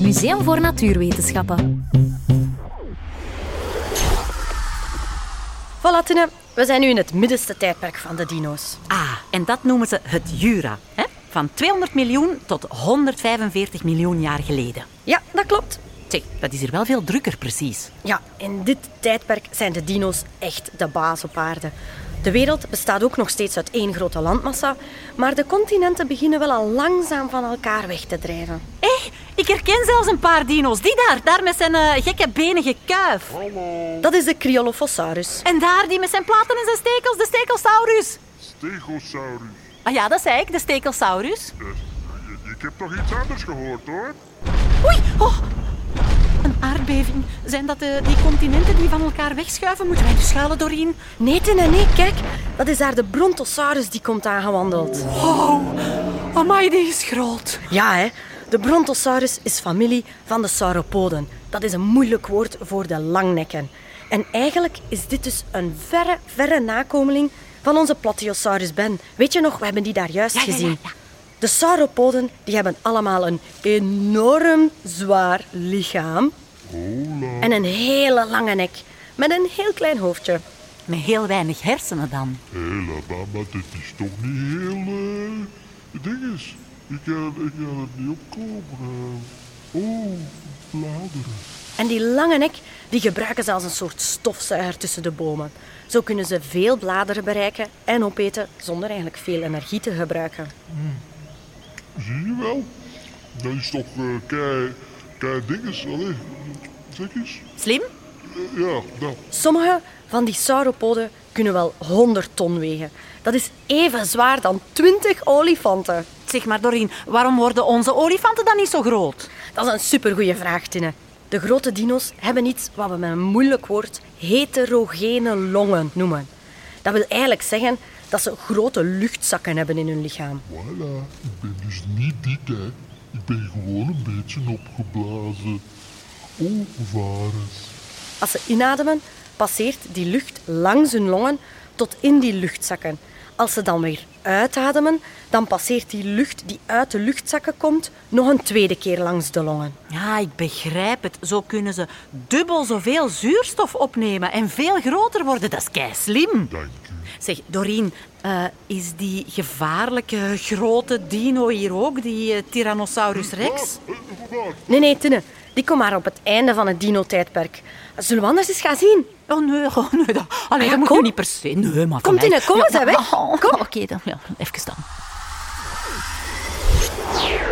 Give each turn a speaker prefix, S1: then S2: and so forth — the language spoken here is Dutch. S1: Museum voor Natuurwetenschappen.
S2: Voilà, Tine. We zijn nu in het middenste tijdperk van de dino's.
S3: Ah, en dat noemen ze het Jura. Hè? Van 200 miljoen tot 145 miljoen jaar geleden.
S2: Ja, dat klopt.
S3: Zeg, dat is er wel veel drukker precies.
S2: Ja, in dit tijdperk zijn de dino's echt de baas op aarde. De wereld bestaat ook nog steeds uit één grote landmassa, maar de continenten beginnen wel al langzaam van elkaar weg te drijven.
S3: Hé, ik herken zelfs een paar dino's. Die daar, daar met zijn eh, gekke benige kuif.
S2: Dat is de Cryolophosaurus.
S3: En daar die met zijn platen en zijn stekels, de stekelsaurus.
S4: Stegosaurus.
S3: Ah ja, dat zei ik, de stekelsaurus.
S4: Eh, je- Ik heb toch iets anders gehoord hoor?
S3: Oei, oh. Een aardbeving. Zijn dat de, die continenten die van elkaar wegschuiven? Moeten wij er schuilen doorheen?
S2: Nee, Tine, nee, kijk. Dat is daar de Brontosaurus die komt aangewandeld.
S3: Oh, amai, die is groot.
S2: Ja, hè. De Brontosaurus is familie van de sauropoden. Dat is een moeilijk woord voor de langnekken. En eigenlijk is dit dus een verre, verre nakomeling van onze Platyosaurus ben. Weet je nog, we hebben die daar juist
S3: Ja, ja,
S2: gezien.
S3: ja, ja.
S2: De sauropoden die hebben allemaal een enorm zwaar lichaam
S4: Hola.
S2: en een hele lange nek met een heel klein hoofdje.
S3: Met heel weinig hersenen dan.
S4: Hela mama, dit is toch niet heel... eh, ding is, ik kan, ik kan het niet opkomen. eh. oh, bladeren.
S2: En die lange nek die gebruiken ze als een soort stofzuiger tussen de bomen. Zo kunnen ze veel bladeren bereiken en opeten zonder eigenlijk veel energie te gebruiken.
S4: Zie je wel? Dat is toch eh kei... kei dinges, allee. Zeg eens.
S3: Slim?
S4: Eh, ja, dat.
S2: Sommige van die sauropoden kunnen wel 100 ton wegen. Dat is even zwaar dan 20 olifanten.
S3: Zeg maar, Dorien, waarom worden onze olifanten dan niet zo groot?
S2: Dat is een supergoeie vraag, Tine. De grote dino's hebben iets wat we met een moeilijk woord heterogene longen noemen. Dat wil eigenlijk zeggen dat ze grote luchtzakken hebben in hun lichaam.
S4: Voilà. Ik ben dus niet dik, hè. Ik ben gewoon een beetje opgeblazen. Oh, Ovaris.
S2: Als ze inademen, passeert die lucht langs hun longen tot in die luchtzakken. Als ze dan weer uitademen, dan passeert die lucht die uit de luchtzakken komt nog een tweede keer langs de longen.
S3: Ja, ik begrijp het. Zo kunnen ze dubbel zoveel zuurstof opnemen en veel groter worden. Dat is kei slim.
S4: Dank u.
S3: Zeg, Dorien, eh, is die gevaarlijke grote dino hier ook, die eh, Tyrannosaurus Rex?
S4: Ah, eh, waar?
S2: Nee, nee, Tinne, die komt maar op het einde van het dino-tijdperk. Zullen we anders eens gaan zien?
S3: Oh nee, oh, nee dat, allee,
S2: ja,
S3: dat moet
S2: kom.
S3: je niet per se. Nee, maar van
S2: Komt
S3: mij-
S2: in, kom
S3: Ja,
S2: eens, hè,
S3: ja,
S2: weg.
S3: oh,
S2: Kom.
S3: Oké, dan ja, even dan.